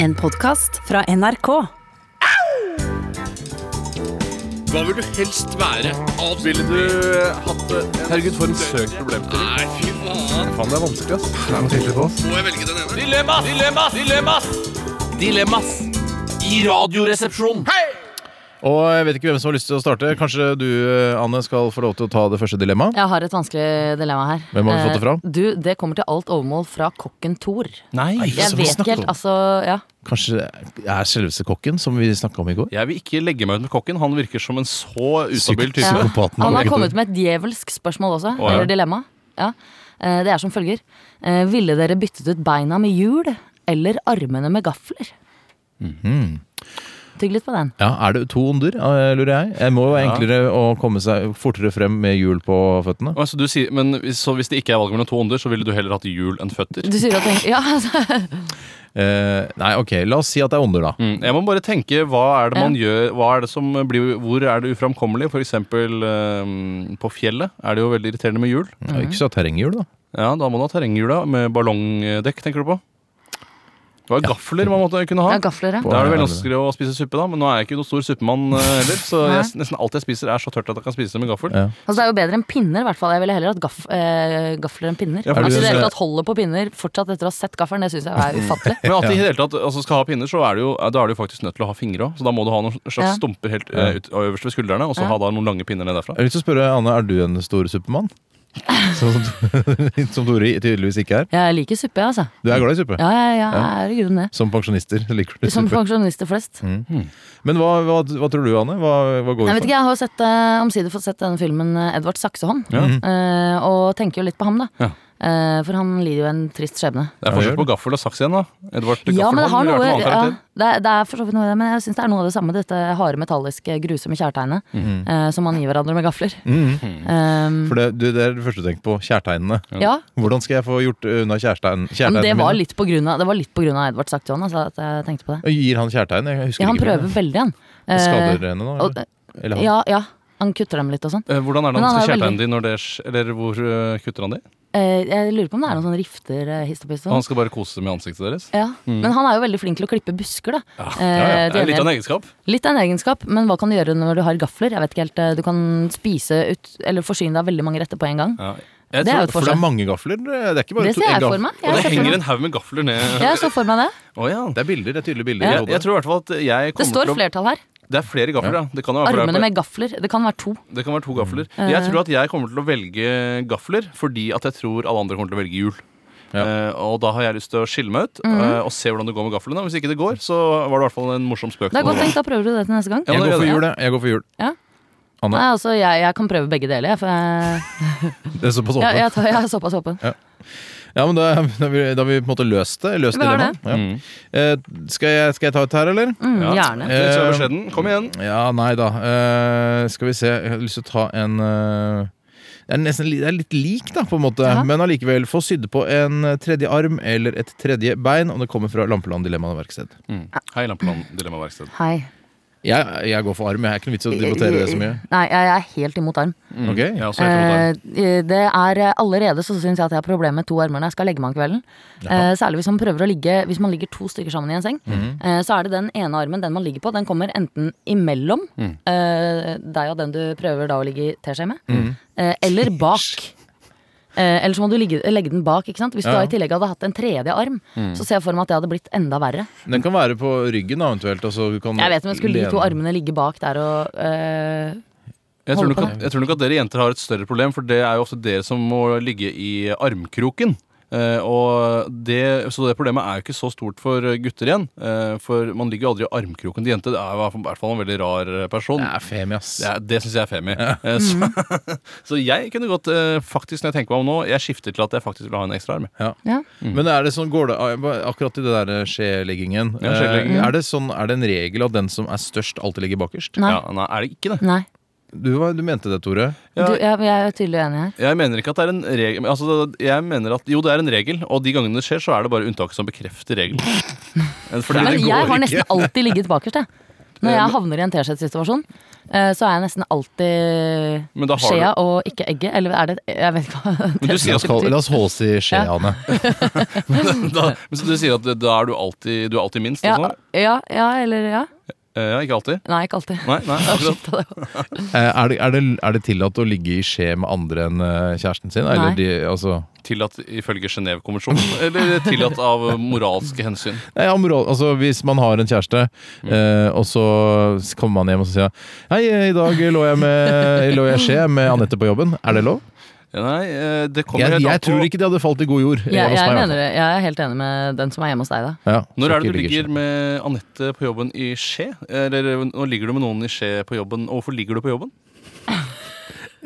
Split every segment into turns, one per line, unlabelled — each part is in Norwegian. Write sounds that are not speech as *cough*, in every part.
En podkast fra NRK.
Hva vil du helst være? Avspilling?
Herregud, for en søk problem.
Nei, fy faen.
Faen, det er vanskelig, ass.
Må jeg velge den ene?
Dilemmas! Dilemmas! Dilemmas! Dilemmas i Radioresepsjonen.
Og jeg vet ikke hvem som har lyst til å starte. Kanskje du, eh, Anne, skal få lov til å ta det første dilemmaet?
Jeg har et vanskelig dilemma her.
Hvem har du fått det fra?
Eh, Du, det kommer til alt overmål fra kokken Thor.
Nei.
Jeg vet ikke helt, altså ja.
Kanskje det er selveste kokken, som vi snakka om i går?
Jeg vil ikke legge meg ut med kokken. Han virker som en så ustabil type.
Ja.
Psykopaten
Han
kokken
har
Thor.
kommet med et djevelsk spørsmål også,
Å, ja.
eller dilemma. Ja. Eh, Det er som følger. Eh, Ville dere byttet ut beina med hjul eller armene med gafler? Tygg litt på den.
Ja, Er det to onder, eh, lurer jeg? Det må jo være enklere å komme seg fortere frem med hjul på føttene.
Å, Så, du sier, men hvis- så hvis det ikke er valg mellom to ånder, så ville du heller hatt hjul enn føtter?
Du sier at den- ja, *laughs* altså,
Eh, nei, ok, la oss si at det er onder, da.
Mm, Jeg må bare tenke, hva er det man gjør Hva er det som blir, Hvor er det uframkommelig? For eksempel eh, på fjellet er det jo veldig irriterende med hjul.
Mhm.
Ja, Ikke så terrenghjul, da.
Ja, da må du ha terrenghjula med ballongdekk, tenker du på? Det var gafler man måtte kunne ha.
ja, gafler, ja.
På-
Da er det vel vanskeligere å spise suppe, da, men nå er jeg ikke noen stor suppemann
*laughs*
eh, heller. Så
Nei.
jeg, nesten alt jeg spiser, er så tørt at jeg kan spise det med gaffel.
Ja.
Altså, det er jo bedre enn pinner, i hvert fall. Jeg ville heller hatt gaff, eh, gafler enn pinner.
Ja,
for
At
du-
de i det hele tatt holder på pinner fortsatt etter å ha sett gaffelen, det syns jeg er ufattelig.
Men at de i det hele tatt altså, skal ha pinner, så er det jo, da er du faktisk nødt til å ha fingre òg. Så da må du ha noen slags
Ja.
stumper helt eh, ut, øverst ved skuldrene, og så
Ja.
ha da noen lange pinner ned derfra.
Jeg har lyst til å spørre, Anne, er du en
*laughs*
stor suppemann? Som, *laughs* som Tore tydeligvis ikke er.
Jeg liker suppe, jeg, altså.
Du er glad i suppe?
Ja, ja, ja, jeg er i grunnen det.
Som pensjonister liker du
Som
suppe.
pensjonister flest.
Men hva, hva, hva tror du, Anne? Hva, hva
Jeg
går vi
vet
for?
ikke, jeg har jo sett, eh, omsider fått sett denne filmen eh, Edvard Saksehånd. eh, og tenker jo litt på ham, da.
Ja.
Eh, for han lider jo en trist skjebne.
Det er
Ja, gjør
forskjell på gaffel og saks igjen, da. Edvard
Ja, men det har
Gaffelmann
noe
ville vært en
ja,
annen karakter.
det, er, det er for så vidt noe i det, men jeg syns det er noe av det samme. Dette harde, metalliske, grusomme kjærtegnet eh, som man gir hverandre med gafler.
Hmm.
Eh,
Mhm. For det, du, det er det første du tenker på. Kjærtegnene.
ja,
Hvordan skal jeg få gjort unna kjærtegn,
ja, men det
kjærtegnene
var
mine?
litt på grunn av, det var litt på grunn av Edvard Saksehånd altså, at jeg tenkte på det.
Gir han kjærtegn? Jeg husker
Ja, han
ikke.
prøver veldig, han. Eh,
Skader henne nå?
og-
Eller? Eller han?
ja, ja, han kutter dem litt og sånn.
Eh, Hvordan er det
Men
han
han er
skal
jo
kjærtegne
veldig-
de når det sk- Eller hvor eh, kutter han de?
Eh, jeg lurer på om det er noen sånne rifter eh, hist og pist. og sånn.
Han skal bare kose med ansiktet deres?
Ja, Men han er jo veldig flink til å klippe busker, da.
Mm. Ja,
Eh,
ja. Det
til
er litt av en
gjengjeld.
egenskap.
litt av en egenskap, men hva kan du gjøre når du har gafler? Jeg vet ikke helt, eh, Du kan spise ut, eller forsyne deg av veldig mange retter på en gang.
Ja. Jeg
Det er
tror-
jo et
For det
forskjell.
er mange gafler. Det er ikke bare
Det
to-
ser jeg
en
for
gaff-
meg.
Og
Jeg
det
ser for
henger
meg,
en haug med gafler ned.
jeg ser for meg det.
Å, ja.
Det er bilder, det er tydelige bilder. i
Jeg,
hodet.
jeg tror i hvert fall at jeg
Det
kommer
står
til å
flertall her.
Det er flere gafler, ja. Det kan, jo være-
Armene Mm. med gafler. Det kan være to.
det kan være to gafler. Jeg tror at jeg kommer til å velge gafler fordi at jeg tror alle andre kommer til å velge hjul. Eh, og da har jeg lyst til å skille meg ut
Mm.
eh, og se hvordan det går med gaflene. Hvis ikke det går, så var det i hvert fall en morsom spøk.
Det er godt tenkt, da prøver du det til neste gang.
Ja,
jeg
nå
går
gjør
for
jeg
jul, jeg. jeg. går for jul.
Nei, altså, jeg, jeg kan prøve begge deler, jeg. For jeg,
Det er såpass
jeg,
åpent.
jeg, tar, jeg er såpass åpen.
Ja, men da, da, har vi, da har vi på en måte løst det. Løst
Vi har
dilemmaet. Ja.
Mm.
Eh, skal, jeg, skal jeg ta ut her, eller?
Mm,
Ja. Eh,
gjerne.
Litt så beskjeden. Kom igjen.
Ja, nei da. Eh, skal vi se. Jeg har lyst til å ta en eh, det, er nesten, li- det er litt lik, da, på en måte.
Jaha.
Men allikevel. Få sydd på en tredje arm eller et tredje bein, om det kommer fra Lampeland Dilemma verksted.
Mm. Hei, Lampeland Dilemmaverksted.
Hei.
Jeg, jeg går for arm. Jeg er ikke noe vits i å debattere det så mye.
Nei, jeg, jeg er helt imot arm.
Ok?
Jeg er også helt imot arm.
Eh, det er eh, Allerede så syns jeg at jeg har problemer med to armer når jeg skal legge meg om kvelden. Eh, særlig hvis man prøver å ligge Hvis man ligger to stykker sammen i en seng. eh, så er det den ene armen, den man ligger på, den kommer enten imellom eh, deg og den du prøver da å ligge i teskje med, eh, eller bak. Eh, eller så må du ligge, legge den bak. ikke sant? Hvis du
Ja.
da i tillegg hadde hatt en tredje arm, så ser jeg for meg at det hadde blitt enda verre.
Den kan være på ryggen, da, eventuelt. og så du kan
Jeg vet om jeg skulle de
lene-
to armene ligge bak der og eh,
Jeg tror,
Holder
nok
på
at, jeg tror nok at dere jenter har et større problem, for det er jo ofte dere som må ligge i armkroken. Eh, og det, så det problemet er jo ikke så stort for gutter igjen. Eh, for man ligger jo aldri i armkroken til jenter. Det er jo i hvert fall- i hvert fall en veldig rar eh, person.
Det er femi, ass.
Det, er- det syns jeg er femi. Eh,
Mm.
så, *laughs* så jeg kunne godt, eh, faktisk når jeg tenker meg om nå, jeg skifter til at jeg faktisk vil ha en ekstra arm.
Ja.
Ja.
Men er det sånn, går det akkurat i det der eh, skjeleggingen
Ja, skjeleggingen.
eh, er, det sånn, er det en regel at den som er størst, alltid ligger bakerst?
Nei.
Ja, nei, er det ikke det?
Nei.
Du, var- du mente det, Tore.
Ja.
Du, jeg, jeg er tydelig uenig her.
Jeg mener ikke at det er en regel men altså, jeg mener at, Jo, det er en regel, og de gangene det skjer, så er det bare unntaket som bekrefter regelen. Eh, Fordi
Men
det går
jeg har
ikke. Eh,
nesten alltid ligget bakerst, jeg. Når jeg havner i en T-skjorte-situasjon, eh, så er jeg nesten alltid
Men da har
skjea og ikke egget. Eller er det Jeg vet ikke hva
Men du
T-skjorte
sier
La *laughs* oss, kalle- la oss holde oss i skje,
Ja. *laughs*
Anne.
Men *laughs* da, men så du sier at da er du alltid, du er alltid minst?
Ja,
og sånn, da?
ja, ja, eller ja.
Eh, ja, ikke alltid?
Nei, ikke alltid. *laughs*
Nei, nei
Shit,
akkurat.
det var-
Eh, Er det, er, det, er det tillatt å ligge i skje med andre enn eh, kjæresten sin? Eller
Nei.
de, altså,
Tillatt ifølge Genévekonvensjonen, eller tillatt av moralske hensyn?
nei, ja, moral- altså, hvis man har en kjæreste,
Mm.
eh, og så kommer man hjem og så sier han, Hei, eh, i dag lå jeg,
*laughs*
med, lå jeg i skje med Anette på jobben. Er det lov?
Ja, Nei, eh, det kommer
Jeg,
helt an
jeg
på
tror ikke det hadde falt i god jord. eh,
Jeg, jeg
hos meg, i hvert
altså.
mener det. Jeg er helt enig med den som er hjemme hos deg, da.
fall. Ja,
Når er
så
det
ikke
du
ligge i skje.
ligger med Anette på jobben i Skje? Eller eh, nå ligger du med noen i Skje på jobben, og hvorfor ligger du på jobben?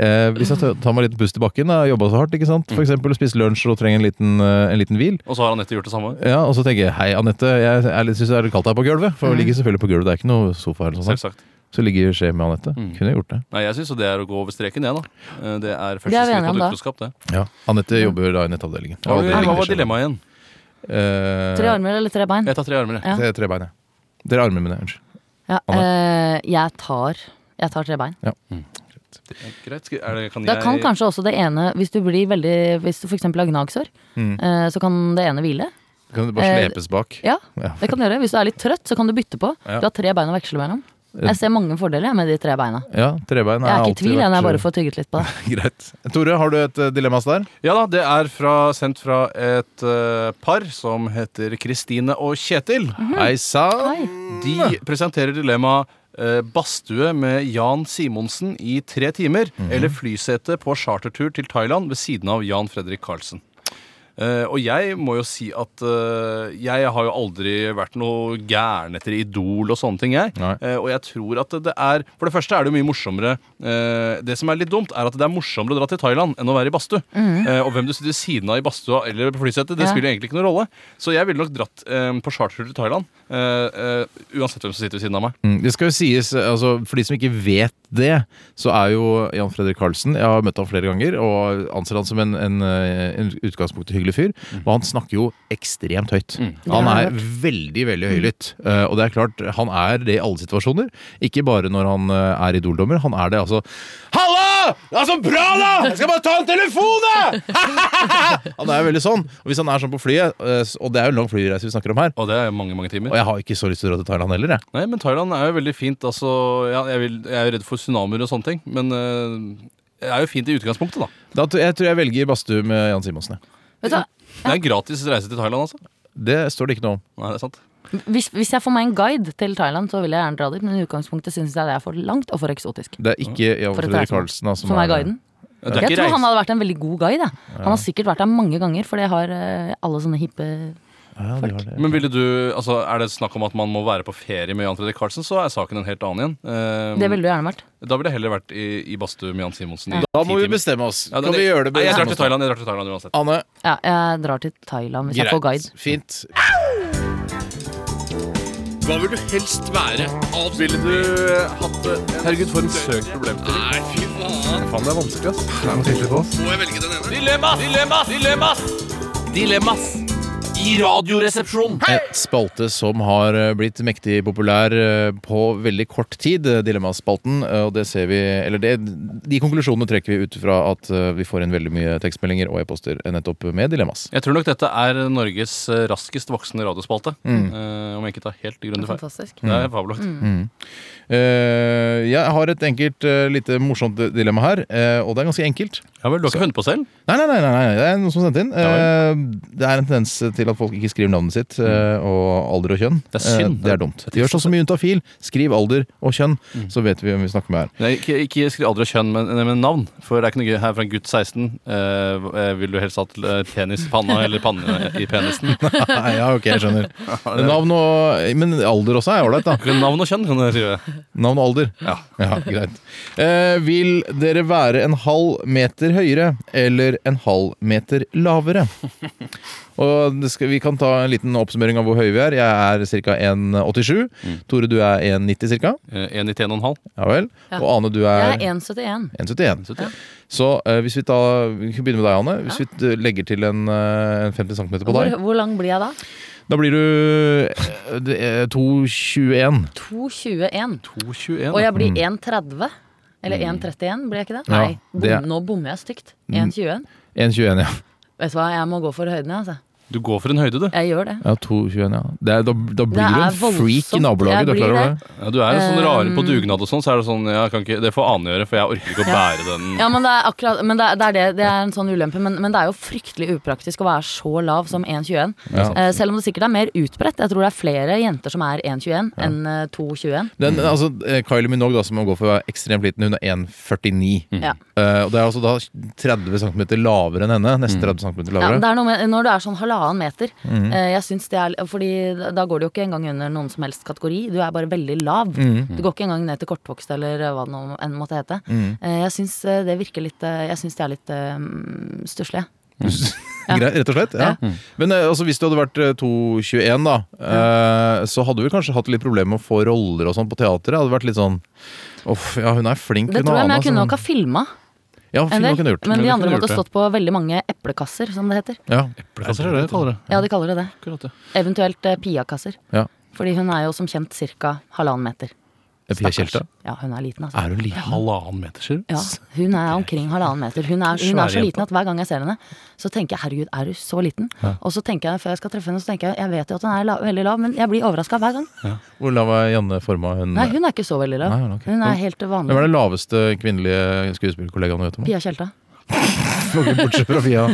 Eh, hvis jeg tar- tar meg en liten pust i bakken, har jobba så hardt, ikke sant?
Mm.
For eksempel spist lunsj og trenger en liten, eh, en liten hvil.
Og så har Anette gjort det samme?
Ja, Og så tenker jeg hei, Anette, jeg, er litt- synes det er litt kaldt her på gulvet.
Mm.
For å ligge selvfølgelig på gulvet, det er ikke noe sofa. eller sånt.
Selvsagt.
Så ligger i skje med Anette. Kunne gjort det.
Nei, jeg syns jo det er å gå over streken, jeg, da. Eh, Det er
Det er
første
vi
skritt
enige om,
mot
da.
utroskap, det.
Ja, Anette jobber da i nettavdelingen.
Hva
Og det
hva
ligger i
var
skje.
dilemmaet igjen?
Eh,
Tre armer eller tre bein?
Jeg tar tre armer, jeg.
Ja.
tre- Tre bein, ja. Dere armer mine, unnskyld.
Ja, eh, jeg tar Jeg tar tre bein.
Eh, Greit. skal- Er det, kan
Da
jeg
kan kanskje også det ene Hvis du blir veldig Hvis du f.eks. har gnagsår,
Mm.
eh, så kan det ene hvile.
Kan du bare
Eh,
slepes bak?
Ja,
Ja.
det kan du gjøre. Hvis du er litt trøtt, så kan du bytte på.
Ja.
Du har tre bein å veksle mellom. Jeg ser mange fordeler jeg, med de tre beina.
Ja, trebein
Jeg er ikke i
alltid
tvil, jeg, når jeg bare
vært- eh,
får tygget litt på det.
*laughs* Greit. Tore, har du et eh, dilemma der?
Ja da, det er fra, sendt fra et eh, par som heter Kristine og Kjetil.
Hei sann!
Mhm. Oi.
De presenterer dilemmaet eh, badstue med Jan Simonsen i tre timer, eller flysete på chartertur til Thailand ved siden av Jan Fredrik Karlsen. Eh, og jeg må jo si at eh, jeg har jo aldri vært noe gæren etter Idol og sånne ting, jeg.
Nei.
Eh, og jeg tror at det er For det første er det jo mye morsommere eh, Det som er litt dumt, er at det er morsommere å dra til Thailand enn å være i badstue. Eh, og hvem du sitter ved siden av i badstua eller på flysetet, det
Ja.
spiller jo egentlig ikke noen rolle. Så jeg ville nok dratt eh, på chartertur til Thailand, eh, eh, uansett hvem som sitter ved siden av meg.
Mm, Det skal jo sies, altså, For de som ikke vet det, så er jo Jan Fredrik Karlsen Jeg har møtt ham flere ganger og anser han som en, en, eh, en utgangspunktet hyggelig fyr. Og han snakker jo ekstremt høyt. Han
har
er veldig, veldig høylytt. Eh, Og det er klart, han er det i alle situasjoner. Ikke bare når han eh, er Idol-dommer. Han er det altså Halla! Det er så bra, da! Jeg skal bare ta en telefon, da! *laughs* han er jo veldig sånn. Og hvis han er sånn på flyet, eh, s- og det er jo en lang flyreise vi snakker om her,
Og det er jo mange, mange timer.
og jeg har ikke så lyst til å dra til Thailand heller, jeg.
Nei, men Thailand er jo veldig fint. Altså, ja, jeg, vil, jeg er jo redd for tsunamier og sånne ting, men eh, det er jo fint i utgangspunktet, da.
Da, tror- jeg tror jeg velger badstue med Jan Simonsen. jeg.
Vet du, hva?
Det er en gratis reise til Thailand, altså.
Det står det ikke noe om.
Nei, det er sant.
hvis, hvis jeg får meg en guide til Thailand, så vil jeg gjerne dra dit, men i utgangspunktet syns jeg det er for langt og for eksotisk.
Det er ikke Jan
Mm. For et
Fredrik
reismål.
Karlsen da, som,
Som er guiden.
Det er
Jeg
ikke
tror han
reise.
hadde vært en veldig god guide. jeg. Han har sikkert vært der mange ganger, for det har eh, alle sånne hippe
Ja, de har det.
Men ville du, altså, Er det snakk om at man må være på ferie med Jan Fredrik Karlsen, så er saken en helt annen igjen. Eh,
Det ville du gjerne vært.
Da ville jeg heller vært i, i badstue med Jan Simonsen. i
Da
ti
må vi
timer.
bestemme oss.
Ja,
kan vi gjøre det?
Nei, jeg drar
bestemme
til Thailand, jeg drar til Thailand uansett.
oss? Anne,
Ja, jeg drar til Thailand hvis jeg får
greit.
guide.
Fint.
Hva vil du helst være? Alt ville du eh, hatt det?
Herregud, for en søkt problemstilling.
Nei, fy faen.
Faen, det er vanskelig, ass.
Må jeg velge den ene?
Dilemmas! Dilemmas! Dilemmas! Dilemmas! I Radioresepsjonen!
En spalte som har eh, blitt mektig populær eh, på veldig kort tid, eh, Dilemmaspalten. eh, Og det ser vi Eller det, de konklusjonene trekker vi ut fra at eh, vi får inn veldig mye tekstmeldinger og e-poster eh, nettopp med dilemmas.
Jeg tror nok dette er Norges eh, raskest voksende radiospalte. Eh, om jeg Mm. ikke tar helt grundig feil.
Fantastisk.
Det er fabelaktig.
Eh, jeg har et enkelt, eh, lite morsomt dilemma her, eh, og det er ganske enkelt.
Ja vel, du har ikke funnet på selv?
Nei, nei, nei, nei, nei, det er noen som sendte inn. Eh, det er en tendens til at folk ikke skriver navnet sitt eh, og alder og kjønn.
Det er synd.
Eh, det Mm. er dumt.
Det er trist,
Gjør sånn som i Juntafil. Skriv alder og kjønn, så vet vi hvem vi snakker med her.
Nei, ikke, ikke skriv alder og kjønn, men, nei, men navn. For det er ikke noe gøy her fra en gutt 16. Eh, eh, vil du helst hatt eh, penis i panna eller panne i penisen?
Nei, *laughs* ja, ok, jeg skjønner. Navn og Men alder også er ålreit, da.
Navn og kjønn kan jeg skrive.
Navn og alder.
Ja.
greit. Eh, vil dere være en halv meter høyere eller en halv meter lavere? Og det skal, vi kan ta en liten oppsummering av hvor høye vi er. Jeg er ca. 1,87. Tore, du er 1,90 ca.
Eh, 1,91,5.
Ja vel.
Ja.
Og Ane, du
Jeg
er
er 1,71.
1,71.
Så det-
Så eh, hvis vi da Vi kan begynne med deg, Anne. Hvis vi eh, legger til en, eh, en 50 cm på
Hvor,
deg,
hvor lang blir jeg da?
Da blir du eh, det er 2,21.
2,21.
2,21.
Og jeg blir 1,30. Eller 1,31, blir jeg ikke det?
Mm. Ja,
Nei,
det er-
bom-
Mm.
nå bommer jeg stygt. 1,21.
1,21, ja.
Vet du hva, jeg må gå for høyden, jeg, altså.
Du går for en høyde, du.
Jeg gjør det.
ja 2,21, ja. Det er, da, da blir du
er
en
voldsomt.
freak i nabolaget.
Jeg
Da
blir
klarer du
det.
det.
Ja, du er jo sånn rare på
Um,
dugnad og sånn, så er det sånn ja, kan ikke, Det får annen gjøre, for jeg orker ikke å bære den.
Ja, men det er akkurat men det, er- det, er det, det er en sånn ulempe, men, men det er jo fryktelig upraktisk å være så lav som 1,21.
Ja.
Eh, selv om det sikkert er mer utbredt. Jeg tror det er flere jenter som er 1,21 enn eh, 2,21.
Den, altså, eh, Kylie Minogue, da, som må gå for å være ekstremt liten, hun er 1,49.
Mm.
Ja.
Eh, og det er altså da 30 cm lavere enn henne.
Mm.
Nesten 30 cm
Ja,
lavere.
det er noe med, når du er sånn halvannen meter eh, Jeg synes det er Fordi da går du jo ikke engang under noen som helst kategori. Du er bare veldig lav. Du går ikke engang ned til kortvokst eller eh, hva det nå enn måtte hete. Eh, jeg syns eh, det virker litt eh, Jeg syns det er litt eh, stusslig. jeg. Ja.
Greit, rett og slett. Ja.
Mm.
Men eh, altså, hvis du hadde vært eh, 2,21, da, eh, så hadde du vel kanskje hatt litt problemer med å få roller og sånn på teatret. Hadde vært litt sånn Uff, ja, hun er flink,
Det
hun
tror jeg, men jeg kunne
altså.
nok ha filma
Ja,
en del.
film nok kunne gjort.
Men
du
de andre
kunne
måtte
gjort det.
stått på veldig mange eplekasser, som det heter.
Ja.
Ja, så er det det, kaller det.
Ja, de kaller det det.
Akkurat det.
Eventuelt eh, piakasser.
Ja.
Fordi hun er jo som kjent ca. halvannen meter.
Pia
Stakkars.
Kjelta.
Ja, hun er liten, altså.
Er hun liten?
Halvannen meter, sier du?
Ja, hun er omkring halvannen meter. Hun er, hun
Svære
er så liten
jenta.
at hver gang jeg ser henne, så tenker jeg 'herregud, er du så liten?' Og så tenker jeg, før jeg skal treffe henne, så tenker jeg 'jeg vet jo at hun er la veldig lav', men jeg blir overraska hver gang.
Hvor lav er Janne Forma? Hun,
Nei, hun er ikke så veldig lav.
Nei, hun er ikke-
Hun er helt vanlig.
Hvem er den laveste kvinnelige skuespillerkollegaen du vet om?
Pia Tjelta.
*laughs* Bortsett fra Pia.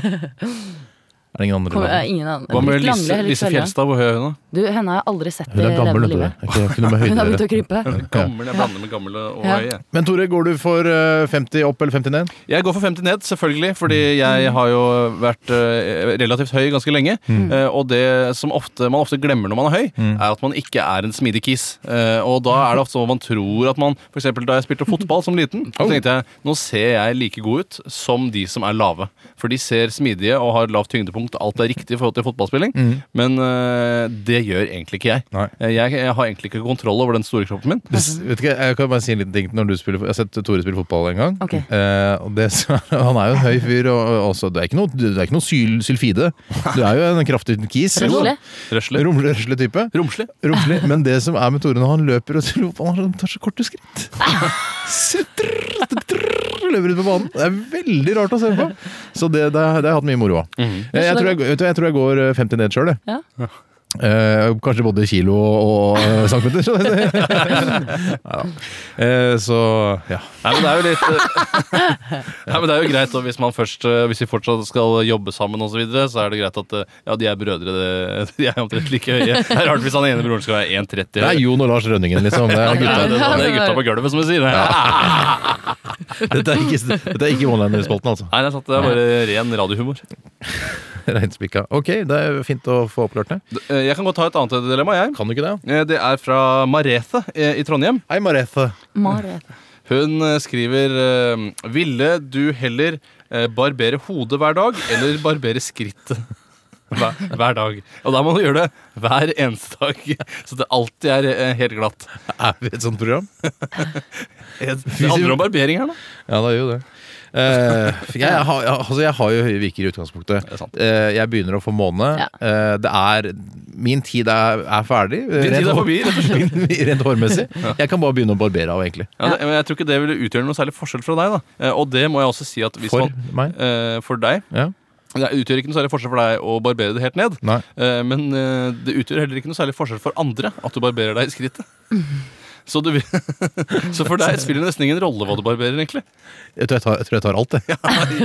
Er det ingen andre?
Kom- eh,
lavere?
Ingen annen.
Hva med
Litt
Lise,
Langle,
Lise
Helge Svelle.
Fjelstad? Hvor høy er hun, da?
Du, henne har jeg aldri sett i
Hun er gammel,
levende
vet du.
livet.
det. Det er ikke noe med høyde
*laughs* Hun har
å
begynt å
gjøre.
krympe.
Gammel, Jeg blander med gammel og
Ja.
høy. jeg.
Men Tore, går du for eh, 50 opp eller 50 ned?
Jeg går for 50 ned, selvfølgelig, fordi jeg har jo vært eh, relativt høy ganske lenge. Eh, og det som ofte, man ofte glemmer når man er høy, er at man ikke er en smidig kis. Eh, og da er det ofte sånn at man tror at man For eksempel da jeg spilte fotball som liten, så tenkte jeg nå ser jeg like god ut som de som er lave. For de ser smidige og har lavt tyngdepunkt, alt er riktig i forhold til fotballspilling. Men eh, det gjør egentlig ikke jeg.
Nei.
Eh, jeg. Jeg har egentlig ikke kontroll over den store kroppen min.
Det, s- vet ikke, jeg kan bare si en liten ting når du spiller Jeg har sett Tore spille fotball en gang.
Ok.
Eh, og det, som er- *laughs* han er jo en høy fyr. Og, og også, det er ikke noe, det er ikke noe syl, sylfide. Du er jo en kraftig kis.
Røslig.
Røslig.
Rumle, røsle type.
Romslig.
Romslig. Men det som er med Tore når han løper og spiller fotball, han tar så korte skritt. Så drrr, drrr, Løper ut på banen. Det er veldig rart å se på. Så det, det, har- det har jeg hatt mye moro av. Eh, Jeg, tror jeg, vet du, jeg tror jeg går eh, 50 ned sjøl, jeg.
Ja.
Eh, kanskje både kilo og eh, centimeter. Så, *laughs* ja. eh, så ja.
Nei, men det er jo litt eh, *laughs* Nei, men det er jo greit og hvis man først eh, Hvis vi fortsatt skal jobbe sammen og så videre Så er det greit at eh, Ja, de er brødre det- *laughs* De er omtrent like høye Det er rart hvis han ene broren skal være 1,30
Det er Jon og Lars Rønningen, liksom. Det er
Nei,
gutta.
det, det, det er gutta på gulvet som vi sier Nei,
Dette er ikke, dette er ikke one-liner-spalten, altså.
det er sant Det er bare ren radiohumor
Reinspikka. Ok, det er fint å få oppklart det.
D- eh, Jeg kan godt ta et annet dilemma, jeg
Kan du ikke det?
Eh, det er fra Marete eh, i Trondheim
Hei, Marethe.
Marit.
Hun eh, skriver eh, Ville du heller eh, barbere hodet hver dag Eller barbere skrittet *laughs* hver, hver dag Og da må du gjøre det hver eneste dag *laughs* Så det alltid er eh, helt glatt
Er vi et sånt program?
Det handler om barbering her da
Ja, det gjør jo det. Eh, for jeg, har, jeg- altså jeg har jo høye viker i utgangspunktet.
Det er sant.
Eh, jeg begynner å få måne. Eh, det er Min tid er, er ferdig.
Din tid er
hår-
forbi, rett og
*laughs* Rent hårmessig. Jeg kan bare begynne å barbere av, egentlig.
ja, det, men Jeg tror ikke det ville utgjøre noe særlig forskjell fra deg da Eh, Og det må jeg også si at hvis
For
man,
meg.
eh, For deg
Ja.
Det utgjør ikke noe særlig forskjell for deg å barbere det helt ned
Nei.
Eh, Men eh, det utgjør heller ikke noe særlig forskjell for andre At du barberer deg i skrittet så, du, vil- *laughs* så for deg spiller det nesten ingen rolle hva du barberer egentlig
Jeg tror jeg tar, jeg, tror jeg tar alt, jeg.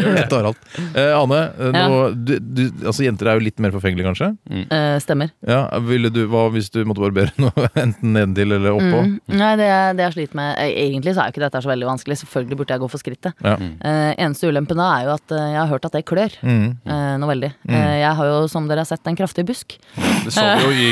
*laughs* jeg tar alt. Eh, Ane, eh, nå, du, du, altså, jenter er jo litt mer forfengelige, kanskje?
Eh, stemmer.
Ja, ville du, hva hvis du måtte barbere noe, *laughs* enten nedentil eller oppå?
Mm. Nei, det, er- det jeg sliter med eh, Egentlig så er jo ikke dette så veldig vanskelig. Selvfølgelig burde jeg gå for skrittet.
Ja.
Mm.
Eh, eneste ulempen da er jo at eh, jeg har hørt at det klør.
Mm.
Eh, noe veldig. Eh, jeg har jo, som dere har sett, en kraftig busk.
Det sa vi jo i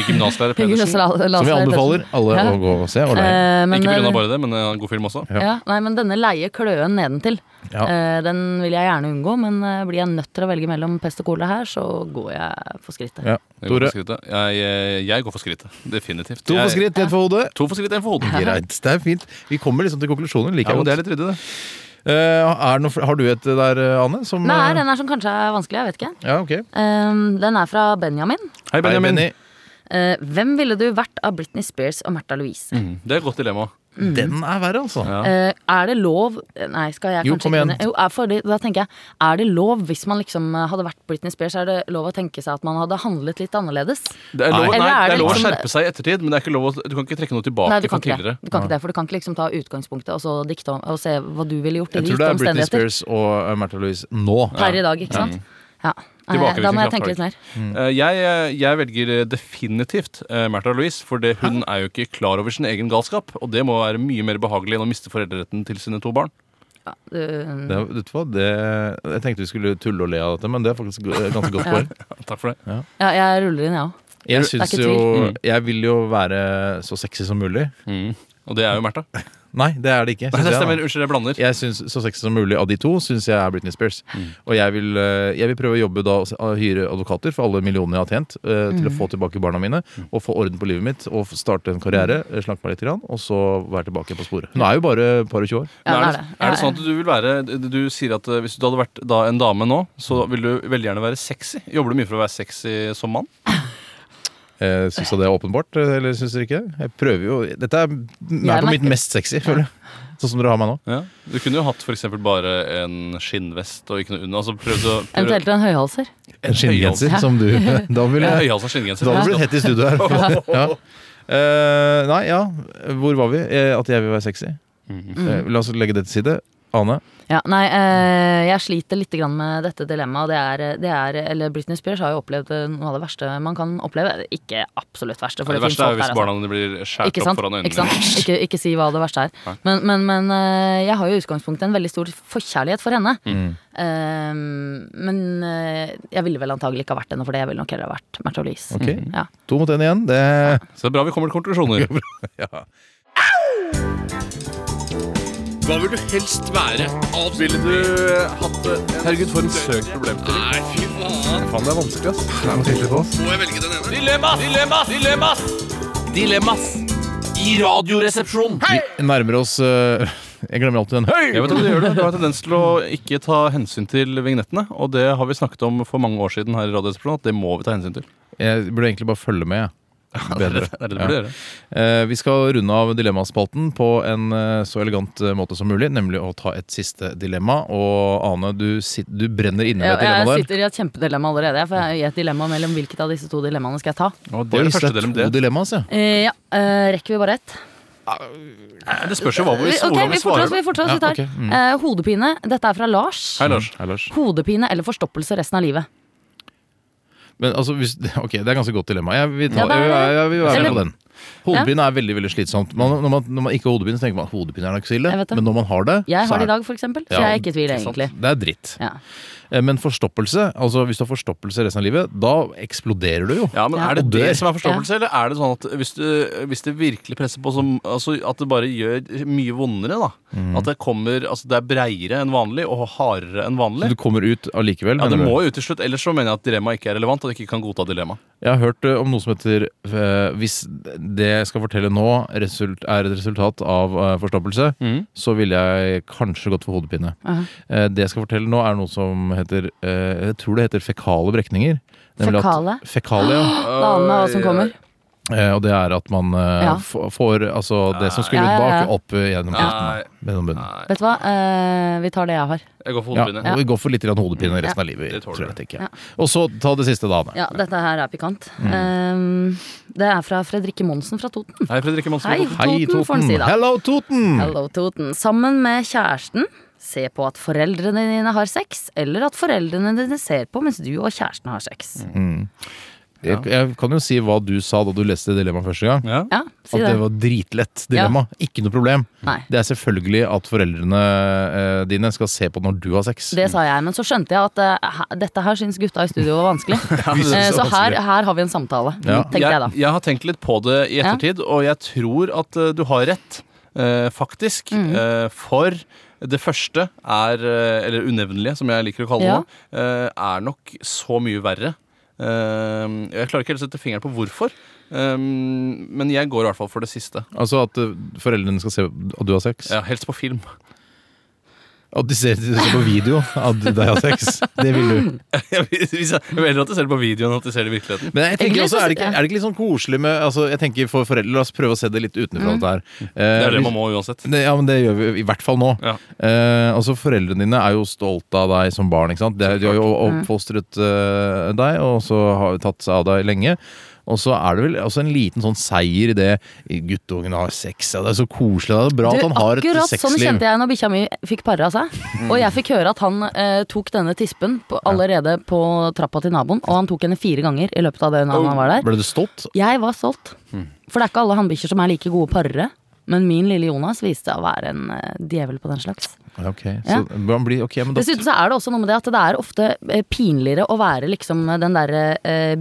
*laughs*
gymnaslærer Pedersen
Som vi anbefaler
sånn.
alle
Ja.
å gå og se. Og leie.
Eh, men,
Ikke på grunn
eh,
av bare det, men eh, en god film også.
Ja.
ja, nei, men denne leie kløen nedentil,
Ja.
eh, den vil jeg gjerne unngå. Men eh, blir jeg nødt til å velge mellom pest og kolera her, så går jeg for skrittet.
ja.
Jeg går,
Tore,
for skrittet. jeg, eh, jeg går for skrittet. Definitivt.
to for
Jeg-
skritt, ett for *laughs* hodet.
To for skritt, en for hodet.
Greit, det er fint. Vi kommer liksom til konklusjonen. Liker
Ja, men det
jeg godt.
er litt ryddig, det.
Eh, er det noe, fl- har du et der, eh, Anne? Som,
Nei,
eh,
den er som kanskje er vanskelig, jeg vet ikke.
Ja, ok.
Eh, den er fra Benjamin.
Hei,
Hei,
Benjamin.
Benny.
Eh, hvem ville du vært av Britney Spears og Märtha Louise?
Mm, Det er et godt dilemma.
Mm.
Den er verre, altså.
Ja.
Eh, er det lov Nei, skal jeg
Jo,
kanskje
kom
ikke
igjen.
kunne- Jo, er fordi, Da tenker jeg, er det lov hvis man liksom eh, hadde vært Britney Spears, er det lov å tenke seg at man hadde handlet litt annerledes?
Det er lov, nei,
Nei.
Eller er
det
det
er lov å
liksom-
skjerpe seg i ettertid, men det er ikke lov å, du kan ikke trekke noe tilbake
Nei, du kan
fra
ikke
tidligere.
det. Du kan ikke det, for du kan ikke liksom ta utgangspunktet og så dikte om, og se hva du ville gjort i
Jeg tror
gitte
det er Britney
omstendigheter.
Spears og eh, Märtha Louise nå.
Per i dag, ikke sant? Ja. Nei,
Tilbakevirkende
Da må jeg
kraft har
tenke
det
litt mer.
Eh, Jeg, jeg velger eh, definitivt eh, Märtha Louise, for det, hun er jo ikke klar over sin egen galskap. Og det må være mye mer behagelig enn å miste foreldreretten til sine to barn.
Ja, du-
Det, vet du hva? Det, jeg tenkte vi skulle tulle og le av dette, men det er faktisk go- et ganske godt
Ja.
poeng.
Takk for det.
ja, jeg ruller inn, jeg òg.
Jeg
Det er
syns
ikke Mm.
jo
tvil.
Jeg vil jo være så sexy som mulig.
Mm. Og det er jo Märtha. Nei,
Nei, det er det ikke. Synes
det
jeg, da.
stemmer. Unnskyld, jeg blander.
jeg synes, Så sexy som mulig av de to syns jeg er Britney Spears. Og jeg vil, eh, jeg vil prøve å jobbe da og s- og hyre advokater for alle millionene jeg har tjent, eh, til å få tilbake barna mine og få orden på livet mitt og f- starte en karriere, eh, slanke meg litt, grann, og så være tilbake på sporet. Hun er jo bare et par og tjue år.
Ja,
Men
det
er,
er
det,
det.
er det
Ja,
sånn at du vil være Du sier at eh, hvis du hadde vært da en dame nå, så ville du veldig gjerne være sexy. Jobber du mye for å være sexy som mann?
Eh, Syns jeg det er åpenbart, eh, eller syns dere ikke? det? Jeg prøver jo Dette er nær
Jeg
på mitt
merker-
mest sexy, føler jeg. Sånn som dere har meg nå.
Ja. Du kunne jo hatt for eksempel bare en skinnvest og ikke noe under. Altså prøvd å prøvd-
Eventuelt en høyhalser.
En skinngenser
høyhals.
som du *laughs* Da vil
Ja,
jeg
Høyhalsa skinngenser.
Da hadde det blitt hett i studio her. Ja. Eh, nei, ja. Hvor var vi? Eh, at jeg vil være sexy.
Mm.
Mm.
Eh, la oss legge det til side. Ane.
Ja, nei, eh, jeg sliter litt grann med dette dilemmaet. og Det er, det er, eller Britney Spears har jo opplevd eh, noe av det verste man kan oppleve. Ikke absolutt verste, for
Det,
det, finnes
verste er
folk
jo hvis
der. altså.
barna dine blir skåret
Ikke
opp
sant?
foran øynene.
Ikke, sant?
*laughs*
Ikke, ikke si hva det verste er. Men, men, men eh, jeg har jo i utgangspunktet en veldig stor forkjærlighet for henne.
Mm.
Eh, men eh, jeg ville vel antagelig ikke ha vært henne for det. Jeg ville nok heller ha vært Märtha Louise. Mm.
Ok.
Ja.
To mot én igjen. *laughs* Det
Så det er bra vi kommer til konklusjoner.
Hva vil du helst være? Alt vil du eh, hatt
Herregud, for en søk problemstilling.
Nei, fy faen.
Faen, det er vanskelig, ass.
Må jeg velge den ene?
Dilemmas! Dilemmas! Dilemmas! Dilemmas i Radioresepsjonen.
Vi nærmer oss eh, *laughs* Jeg glemmer alltid den. Hei!
Jeg vet at Du gjør det. Du har en tendens til å ikke ta hensyn til vignettene, og det har vi snakket om for mange år siden her i Radioresepsjonen, at det må vi ta hensyn *laughs* til.
Jeg burde egentlig bare følge med. jeg.
Det er
Bedre.
det du
Ja.
burde gjøre.
Eh, vi skal runde av dilemmaspalten på en eh, så elegant eh, måte som mulig, nemlig å ta et siste dilemma. Og Ane, du, sit, du brenner inne med
Jeg,
et dilemma
Eh, jeg
der.
sitter i et kjempedilemma allerede. jeg, For jeg er i et dilemma mellom hvilket av disse to dilemmaene skal jeg ta.
Og det er det
Oi, så
første
det
delen
er to
det.
dilemmaer, altså.
Eh, ja, eh, Rekker vi bare ett?
Nei, Det spørs jo hva vi,
Vi- ok,
hvordan
vi
vi
fortsetter.
svarer.
Vi, fortsetter, vi tar.
Ja, ok. Mm.
Eh, hodepine. Dette er fra Lars.
Hei, Lars.
Hei, Lars.
Hodepine eller forstoppelse resten av livet.
Men altså, hvis, *laughs* ok, det er ganske godt dilemma. Jeg vil, ta,
Ja, det er det.
jeg, jeg vil være med
Eller-
på den. Hodepine er veldig veldig slitsomt. Man, når, man, når man ikke har hodepine, så tenker man at hodepine er nok så ille.
Jeg vet det.
Men når man har det,
Jeg
så
har det
er
i dag, for eksempel, så
Ja,
jeg er ikke i tvil,
ikke sant.
egentlig.
Det er dritt.
Ja.
Eh, Men forstoppelse, altså hvis du har forstoppelse resten av livet, da eksploderer du jo.
Ja, men
Ja.
Er det
Og dør.
det som er forstoppelse, eller er det sånn at hvis, du, hvis det virkelig presser på, som, altså, at det bare gjør mye vondere, da?
Mhm.
At det kommer, altså det er breiere enn vanlig og hardere enn
Så
vanlig?
du kommer ut allikevel.
Ja, det
mener du?
må jo ut til slutt, ellers så mener jeg at dilemmaet ikke er relevant, at jeg ikke kan godta dilemma.
Jeg har hørt eh, om noe som heter eh, Hvis det jeg skal fortelle nå result, er et resultat av eh, forstoppelse, så ville jeg kanskje gått for hodepine.
Aha.
Eh, det jeg skal fortelle nå, er noe som heter eh, Jeg tror det heter fekale brekninger. Nemlig at-
Fekale?
Fekale,
*gasps*
ja.
Da aner jeg hva som kommer.
Eh, og det er at man eh,
Ja. Ah.
f- får altså, det som skulle
Ja, ja,
ut
ja.
bak, opp eh, gjennom
Nei.
kjeften. Gjennom bunnen.
Vet du hva, eh, vi tar det jeg har.
Jeg går for
Ja,
hodepine.
og vi går for litt grann hodepine resten av
Det tåler
livet. Tror
du.
jeg, tenker jeg. Og så ta det siste, da. Anne.
Ja, dette her er pikant.
Mm.
Eh, det er fra Fredrikke Monsen fra Toten.
Hei, Fredrikke Monsen.
Hei,
Hei,
Toten, får en
Toten!
si, da.
Hello, Toten!
Hello, Toten. Sammen med kjæresten, se på at foreldrene dine har sex, eller at foreldrene dine ser på mens du og kjæresten har sex.
Mm. Jeg, jeg kan jo si hva du sa da du leste dilemmaet første gang.
Ja.
Ja, si
at
det.
det var dritlett dilemma. Ikke noe problem.
Nei.
Det er selvfølgelig at foreldrene eh, dine skal se på når du har sex.
Det sa jeg, men så skjønte jeg at eh, he- dette her syns gutta i studio var
*laughs*
vanskelig.
*laughs*
Vi
Eh,
synes det er
så her,
vanskelig.
her har vi en samtale,
Ja.
tenkte jeg da.
Jeg, har tenkt litt på det i
Ja.
ettertid, og jeg tror at eh, du har rett, eh, faktisk.
Mm.
Eh, for det første er eh, Eller unevnelige, som jeg liker å kalle det,
Ja.
nå, eh, er nok så mye verre. Eh, jeg klarer ikke helt å sette fingeren på hvorfor, eh, men jeg går i hvert fall for det siste.
Altså at eh, foreldrene skal se at du har sex.
Ja, helst på film.
At de ser det på video at deg har sex. Det vil du.
*laughs* Jeg vil jeg vil heller at de ser det på videoen enn at de ser det i virkeligheten.
Men jeg tenker
Egentlig
også,
så-
er det, ikke, er det ikke litt sånn koselig med altså, Jeg tenker for foreldre, la oss prøve å se det litt
Mm.
utenfra dette her. Eh,
Det er det man må uansett.
Det, ja, men det gjør vi i hvert fall nå.
Ja.
Eh, altså Foreldrene dine er jo stolte av deg som barn. ikke sant? De, de har jo
Mm.
oppfostret eh, deg, og så har tatt seg av deg lenge. Og så er det vel også en liten sånn seier i det guttungen har sex. Ja, det er så koselig. Det er bra at han har et
akkurat sånn
sexliv. Mm.
kjente jeg når bikkja mi fikk para seg. Og jeg fikk høre at han eh, tok denne tispen på, allerede på trappa til naboen, og han tok henne fire ganger i løpet av det
Oh.
han var der.
Ble du stolt?
Jeg var stolt.
Mm.
For det er ikke alle hannbikkjer som er like gode parere. Men min lille Jonas viste seg å være en eh, djevel på den slags.
Ja, Ok,
Ja.
så man blir, ok, men da
Dessuten så er det også noe med det at det er ofte eh, pinligere å være liksom den derre eh,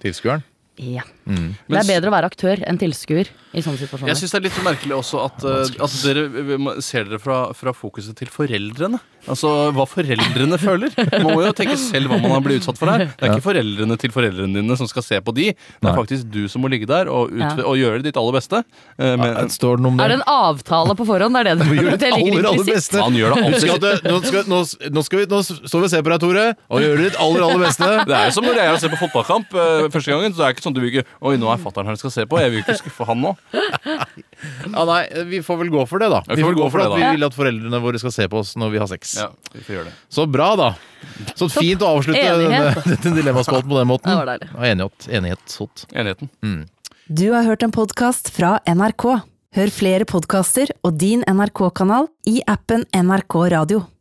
Tilskueren?
Ja. Det
Mm. Men s-
er bedre å være aktør enn tilskuer i sånne situasjoner.
Jeg syns det er litt merkelig også at, eh, at dere eh, må- ser dere fra, fra fokuset til foreldrene. Altså hva foreldrene føler. Man må jo tenke selv hva man har blitt utsatt for her. Det er ikke foreldrene til foreldrene dine som skal se på de. Det er
Nei.
faktisk du som må ligge der og, ut,
Ja.
og gjøre ditt aller beste. Eh,
Ja,
Men
Står det noe om
Er
det?
det en avtale på forhånd? Det er
*laughs*
det det, det ligger
aller, aller
implisitt.
beste.
han gjør det
Husk at
alltid.
du- nå, skal, nå, nå, skal vi, nå står vi og ser på deg, Tore, og gjør ditt aller, aller beste.
Det er jo som når jeg ser på fotballkamp eh, første gangen. Så det er ikke sånn du vil ikke Oi, nå er fatter'n her jeg skal se på. Jeg vil ikke skuffe han nå.
Ja, nei, Vi får vel gå for det, da.
Ja, vi får gå for det,
at
da.
Vi vil at foreldrene våre skal se på oss når vi har sex.
Ja, vi får gjøre det.
Så bra, da. Så fint å avslutte denne,
Enighet.
*laughs* denne dilemmaspalten på den måten.
Det var deilig.
Ja, enighet. enighet sånt.
Enigheten.
Du har hørt en podkast fra NRK. Hør flere podkaster og din NRK-kanal i appen NRK Radio.